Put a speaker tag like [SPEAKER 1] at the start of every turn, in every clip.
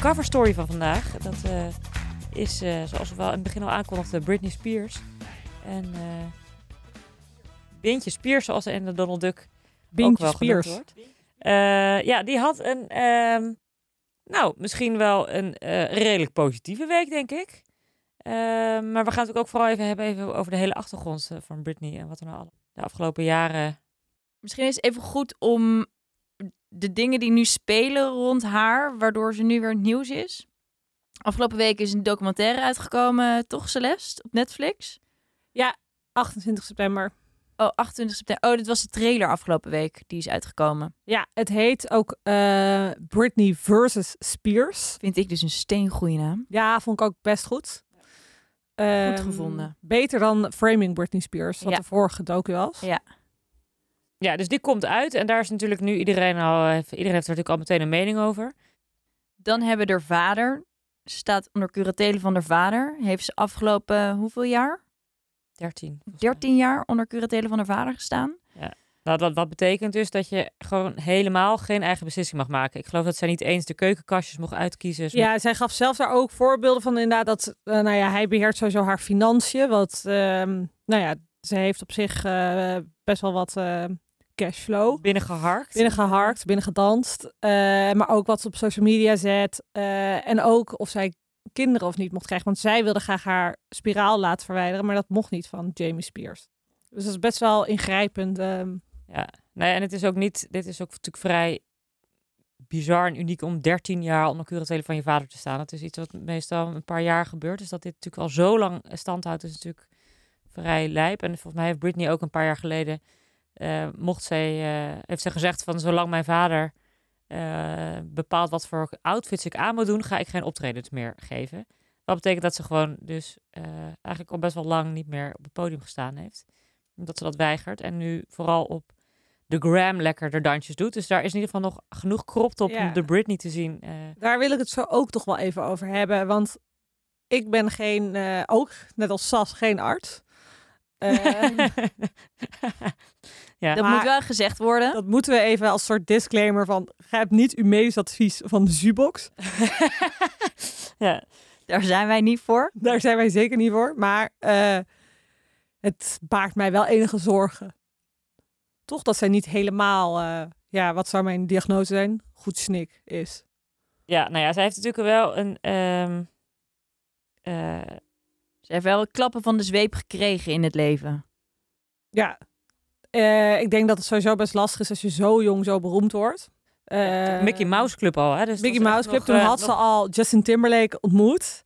[SPEAKER 1] cover story van vandaag. Dat eh, is, eh, zoals we wel in het begin al aankondigden, Britney Spears. En eh Bintje Spears, zoals ze in de Donald Duck ook
[SPEAKER 2] Bintje
[SPEAKER 1] wel genoemd
[SPEAKER 2] Spears.
[SPEAKER 1] wordt. Eh, ja, die had een, ehm, nou, misschien wel een eh, redelijk positieve week, denk ik. Eh, maar we gaan het ook vooral even hebben even over de hele achtergrond eh, van Britney en wat er nou alle- de afgelopen jaren.
[SPEAKER 3] Misschien is het even goed om de dingen die nu spelen rond haar, waardoor ze nu weer in het nieuws is. Afgelopen week is een documentaire uitgekomen, toch Celeste, op Netflix?
[SPEAKER 2] 28 september.
[SPEAKER 3] Oh, 28 september. Oh, dit was de trailer afgelopen week, die is uitgekomen.
[SPEAKER 2] Ja, het heet ook eh, Britney versus Spears.
[SPEAKER 3] Vind ik dus een steengoeie naam.
[SPEAKER 2] Ja, vond ik ook best goed. Ehm,
[SPEAKER 3] gevonden.
[SPEAKER 2] Beter dan Framing Britney Spears, wat
[SPEAKER 3] Ja.
[SPEAKER 2] de vorige docu was.
[SPEAKER 3] Ja.
[SPEAKER 1] Ja, dus die komt uit en daar is natuurlijk nu iedereen al, eh, iedereen heeft er natuurlijk al meteen een mening over.
[SPEAKER 3] Dan hebben haar vader, ze staat onder curatele van haar vader, heeft ze afgelopen hoeveel jaar?
[SPEAKER 1] 13. volgens mij.
[SPEAKER 3] 13 jaar onder curatele van haar vader gestaan.
[SPEAKER 1] Nou, wat, wat betekent dus dat je gewoon helemaal geen eigen beslissing mag maken. Ik geloof dat zij niet eens de keukenkastjes mocht uitkiezen. Ze
[SPEAKER 2] Ja, zij gaf zelf daar ook voorbeelden van inderdaad dat, eh, nou ja, hij beheert sowieso haar financiën. Wat, ehm, nou ja, ze heeft op zich eh, best wel wat eh, cashflow.
[SPEAKER 1] mocht Binnengeharkt.
[SPEAKER 2] Binnengeharkt, binnengedanst. eh, maar ook wat ze op social media zet. eh, en ook of zij kinderen of niet mocht krijgen. Want zij wilde graag haar spiraal laten verwijderen. Maar dat mocht niet van Jamie Spears. Dus dat is best wel ingrijpend. ehm.
[SPEAKER 1] Ja. Nee, en het is ook niet, dit is ook natuurlijk vrij bizar en uniek om 13 jaar onder curatele van je vader te staan. Dat is iets wat meestal een paar jaar gebeurt. Dus dat dit natuurlijk al zo lang stand houdt, is natuurlijk vrij lijp. En volgens mij heeft Britney ook een paar jaar geleden, eh, mocht zij, eh, heeft ze gezegd van zolang mijn vader eh, bepaalt wat voor outfits ik aan moet doen, ga ik geen optredens meer geven. Wat betekent dat ze gewoon dus eh, eigenlijk al best wel lang niet meer op het podium gestaan heeft. Omdat ze dat weigert. En nu vooral op de gram lekker de dansjes doet. Dus daar is in ieder geval nog genoeg kropt op
[SPEAKER 2] Ja.
[SPEAKER 1] om de Britney te zien. eh,
[SPEAKER 2] Daar wil ik het zo ook toch wel even over hebben. Want ik ben geen, eh, ook net als Sas, geen arts. Ehm,
[SPEAKER 1] ja.
[SPEAKER 3] Dat
[SPEAKER 2] Maar-
[SPEAKER 3] moet wel gezegd worden.
[SPEAKER 2] dat moeten we even als soort disclaimer van... Grijp niet uw medisch advies van de Zubox.
[SPEAKER 1] ja.
[SPEAKER 3] Daar zijn wij niet voor.
[SPEAKER 2] Daar zijn wij zeker niet voor. Maar eh, het baart mij wel enige zorgen. Toch dat zij niet helemaal... eh, ja, wat zou mijn diagnose zijn? Goed snik is.
[SPEAKER 1] ja, nou ja, zij heeft natuurlijk wel een... ehm, eh,
[SPEAKER 3] Ze heeft wel klappen van de zweep gekregen in het leven.
[SPEAKER 2] Ja. Eh, ik denk dat het sowieso best lastig is als je zo jong zo beroemd wordt. Eh,
[SPEAKER 1] Mickey Mouse Club al, hè? Dus dat
[SPEAKER 2] Mickey
[SPEAKER 1] is echt
[SPEAKER 2] Mouse Club.
[SPEAKER 1] nog,
[SPEAKER 2] Toen
[SPEAKER 1] eh,
[SPEAKER 2] had ze al Justin Timberlake ontmoet.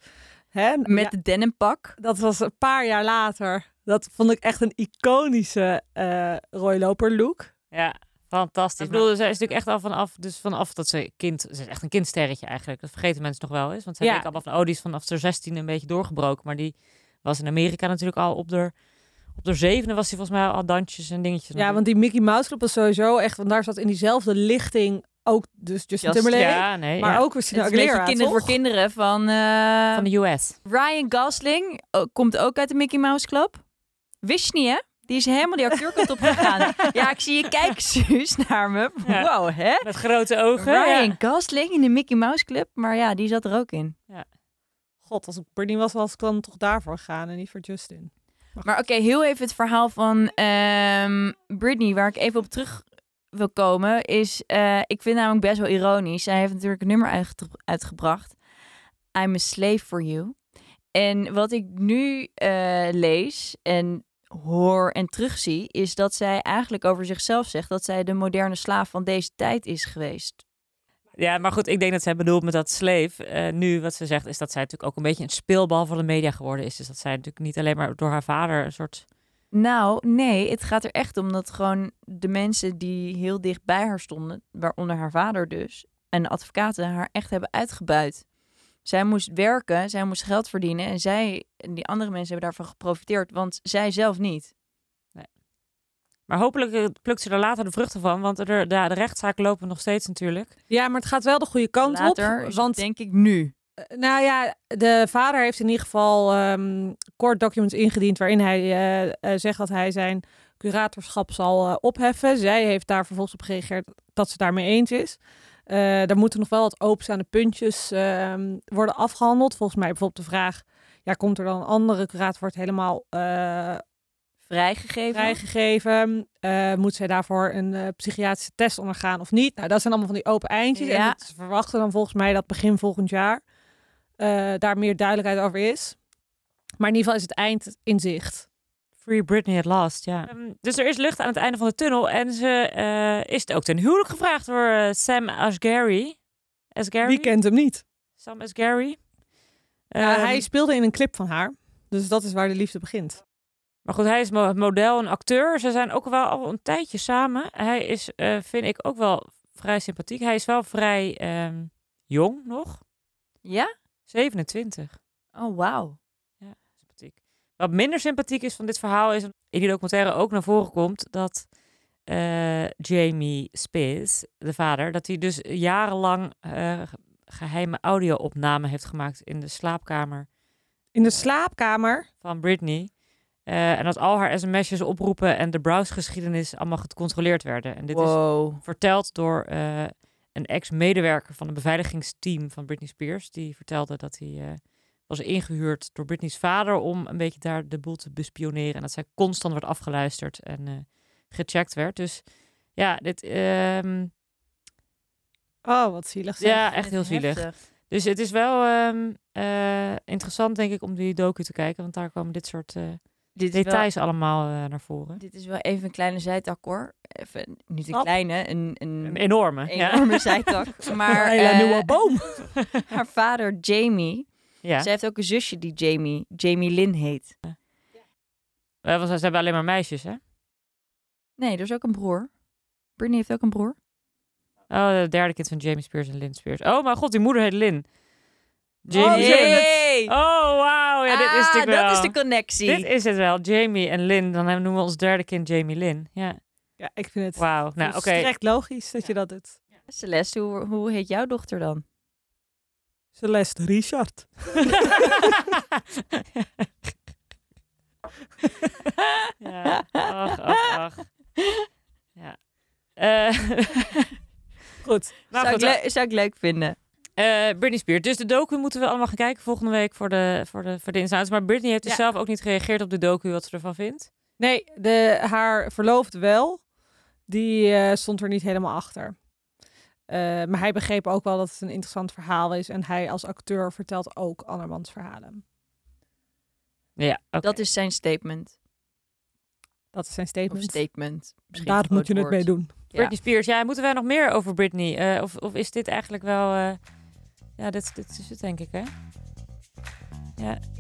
[SPEAKER 2] Hè?
[SPEAKER 3] Met
[SPEAKER 2] Ja,
[SPEAKER 3] de dennenpak.
[SPEAKER 2] dat was een paar jaar later. Dat vond ik echt een iconische eh Roy Loper look.
[SPEAKER 1] Ja, fantastisch.
[SPEAKER 2] Dat
[SPEAKER 1] Ik bedoel, zij is natuurlijk echt al vanaf, dus vanaf dat ze kind, ze is echt een kindsterretje eigenlijk. Dat vergeten mensen nog wel eens. Want zij
[SPEAKER 2] Ja.
[SPEAKER 1] denken allemaal van, oh, die is vanaf haar 16 een beetje doorgebroken. Maar die was in Amerika natuurlijk al op de, op de zevende was hij volgens mij al dansjes en dingetjes.
[SPEAKER 2] Ja, want die Mickey Mouse Club was sowieso echt... Want daar zat in diezelfde lichting ook dus Justin
[SPEAKER 3] Just-
[SPEAKER 2] Timberlake.
[SPEAKER 1] Ja, nee.
[SPEAKER 2] Maar
[SPEAKER 1] ja.
[SPEAKER 2] ook
[SPEAKER 3] Het
[SPEAKER 2] Christina
[SPEAKER 3] is een beetje
[SPEAKER 2] Aguilera,
[SPEAKER 3] kinderen
[SPEAKER 2] toch?
[SPEAKER 3] voor kinderen van, eh,
[SPEAKER 1] Van de
[SPEAKER 2] ehm,
[SPEAKER 1] US.
[SPEAKER 3] Ryan Gosling. oh, komt ook uit de Mickey Mouse Club. Wist je niet, hè? Die is helemaal die acteurkant op gegaan. ja, ik zie je kijken, Suus, naar me.
[SPEAKER 1] Ja.
[SPEAKER 3] Wow, hè?
[SPEAKER 1] Met grote ogen. ja.
[SPEAKER 3] Ryan Gosling in de Mickey Mouse Club. Maar ja, die zat er ook in.
[SPEAKER 2] God, als ik Britney was, was ik dan toch daarvoor gegaan en niet voor Justin.
[SPEAKER 3] Maar oké, heel even het verhaal van ehm, Britney, waar ik even op terug wil komen, is eh, ik vind namelijk best wel ironisch. Zij heeft natuurlijk een nummer uitge- uitgebracht, I'm a slave for you. En wat ik nu eh, lees en hoor en terugzie, is dat zij eigenlijk over zichzelf zegt dat zij de moderne slaaf van deze tijd is geweest.
[SPEAKER 1] Ja, maar goed, ik denk dat zij bedoelt met dat slave. eh, nu wat ze zegt is dat zij natuurlijk ook een beetje een speelbal van de media geworden is. Dus dat zij natuurlijk niet alleen maar door haar vader een soort...
[SPEAKER 3] Nou, nee, het gaat er echt om dat gewoon de mensen die heel dicht bij haar stonden, waaronder haar vader dus, en de advocaten haar echt hebben uitgebuit. Zij moest werken, zij moest geld verdienen en zij en die andere mensen hebben daarvan geprofiteerd, want zij zelf niet.
[SPEAKER 1] Maar hopelijk eh, plukt ze er later de vruchten van. Want er, de, de rechtszaken lopen nog steeds natuurlijk.
[SPEAKER 2] Ja, maar het gaat wel de goede kant
[SPEAKER 3] Later,
[SPEAKER 2] op.
[SPEAKER 3] is
[SPEAKER 2] Want
[SPEAKER 3] het denk ik nu.
[SPEAKER 2] Eh, Nou ja, de vader heeft in ieder geval ehm, kort documents ingediend waarin hij eh, eh, zegt dat hij zijn curatorschap zal eh, opheffen. Zij heeft daar vervolgens op gereageerd dat ze daarmee eens is. Eh, daar moeten nog wel wat openstaande puntjes ehm, worden afgehandeld. Volgens mij bijvoorbeeld de vraag, ja, komt er dan een andere curator wordt helemaal eh,
[SPEAKER 3] Vrijgegeven.
[SPEAKER 2] vrijgegeven? Eh, moet zij daarvoor een eh, psychiatrische test ondergaan of niet? Nou, dat zijn allemaal van die open eindjes. En
[SPEAKER 3] Ja.
[SPEAKER 2] dat- ze verwachten dan volgens mij dat begin volgend jaar eh, daar meer duidelijkheid over is. Maar in ieder geval is het eind in zicht.
[SPEAKER 1] Free Britney at last, ja. Ehm, dus er is lucht aan het einde van de tunnel. En ze eh, is het ook ten huwelijk gevraagd door eh, Sam Asghari. Asghari?
[SPEAKER 2] Wie kent hem niet?
[SPEAKER 1] Sam Asghari.
[SPEAKER 2] Ja,
[SPEAKER 1] Ehm,
[SPEAKER 2] Eh, hij speelde in een clip van haar. Dus dat is waar de liefde begint.
[SPEAKER 1] Maar goed, hij is mo- model en acteur. Ze zijn ook wel al een tijdje samen. Hij is, eh, vind ik, ook wel vrij sympathiek. Hij is wel vrij ehm, jong nog.
[SPEAKER 3] Ja?
[SPEAKER 1] 27.
[SPEAKER 3] Oh, wauw.
[SPEAKER 1] Sympathiek. Wat minder sympathiek is van dit verhaal is... in die documentaire ook naar voren komt... dat eh, Jamie Spitz, de vader... dat hij dus jarenlang eh, geheime audio-opnamen heeft gemaakt... in de slaapkamer
[SPEAKER 2] In de slaapkamer.
[SPEAKER 1] van Britney. Eh, en dat al haar sms'jes, oproepen en de browsegeschiedenis allemaal gecontroleerd werden. En dit is
[SPEAKER 3] wow.
[SPEAKER 1] verteld door eh, een ex-medewerker van een beveiligingsteam van Britney Spears. Die vertelde dat hij eh, was ingehuurd door Britney's vader om een beetje daar de boel te bespioneren. En dat zij constant werd afgeluisterd en eh, gecheckt werd. Dus ja, dit, ehm,
[SPEAKER 2] Oh, wat zielig. zeg.
[SPEAKER 1] ja echt heel zielig. Dus het is wel ehm, eh, interessant, denk ik, om die docu te kijken. Want daar kwamen dit soort eh,
[SPEAKER 3] Dit is, wel,
[SPEAKER 1] details allemaal eh, naar voren.
[SPEAKER 3] dit is wel even een kleine zijtak hoor. Even, niet een
[SPEAKER 2] Oh.
[SPEAKER 3] kleine, een, een,
[SPEAKER 1] Een Mm. enorme. Ja.
[SPEAKER 3] enorme zijtak. Maar
[SPEAKER 2] Een hele
[SPEAKER 3] eh,
[SPEAKER 2] nieuwe boom.
[SPEAKER 3] haar vader Jamie,
[SPEAKER 1] ja.
[SPEAKER 3] zij heeft ook een zusje die Jamie, Jamie Lynn heet.
[SPEAKER 1] Eh, Want ze hebben alleen maar meisjes, hè?
[SPEAKER 3] Nee, er is ook een broer. Britney heeft ook een broer.
[SPEAKER 1] Oh, de derde kind van Jamie Spears en Lynn Spears. Oh, mijn god, die moeder heet Lynn.
[SPEAKER 2] Oh,
[SPEAKER 1] Jamie.
[SPEAKER 2] jee.
[SPEAKER 1] Oh, wauw. Ja, dit is
[SPEAKER 3] ah,
[SPEAKER 1] natuurlijk wel.
[SPEAKER 3] dat is de connectie.
[SPEAKER 1] Dit is het wel. Jamie en Lynn. Dan hebben- noemen we ons derde kind Jamie Lynn. Ja.
[SPEAKER 2] Ja, ik vind het
[SPEAKER 1] Wauw. Nou, oké.
[SPEAKER 2] volstrekt logisch dat je dat doet.
[SPEAKER 3] Celeste, hoe, hoe heet jouw dochter dan?
[SPEAKER 2] Celeste Richard.
[SPEAKER 1] ja. Ach, ach, ach. Ja. Eh,
[SPEAKER 2] Goed.
[SPEAKER 1] maar
[SPEAKER 3] zou,
[SPEAKER 1] Nou goed,
[SPEAKER 3] ik le- zou ik leuk vinden.
[SPEAKER 1] eh, Britney Spears. Dus de docu moeten we allemaal gaan kijken volgende week voor de, voor de, voor de insights. Maar Britney heeft dus
[SPEAKER 2] Ja.
[SPEAKER 1] zelf ook niet gereageerd op de docu, wat ze ervan vindt.
[SPEAKER 2] Nee, de, haar verloofde wel. Die eh, stond er niet helemaal achter. Eh, maar hij begreep ook wel dat het een interessant verhaal is. En hij als acteur vertelt ook andermans verhalen.
[SPEAKER 1] Ja, oké.
[SPEAKER 3] Dat is zijn statement.
[SPEAKER 2] Dat is zijn
[SPEAKER 3] Of
[SPEAKER 2] statement.
[SPEAKER 3] statement. Misschien
[SPEAKER 2] Daar
[SPEAKER 3] een groot
[SPEAKER 2] moet je het mee
[SPEAKER 3] woord.
[SPEAKER 2] doen.
[SPEAKER 3] Ja.
[SPEAKER 1] Britney Spears, ja, moeten wij nog meer over Britney? Eh, of, of is dit eigenlijk wel... eh, ja, dit, dit is het denk ik, hè? Ja,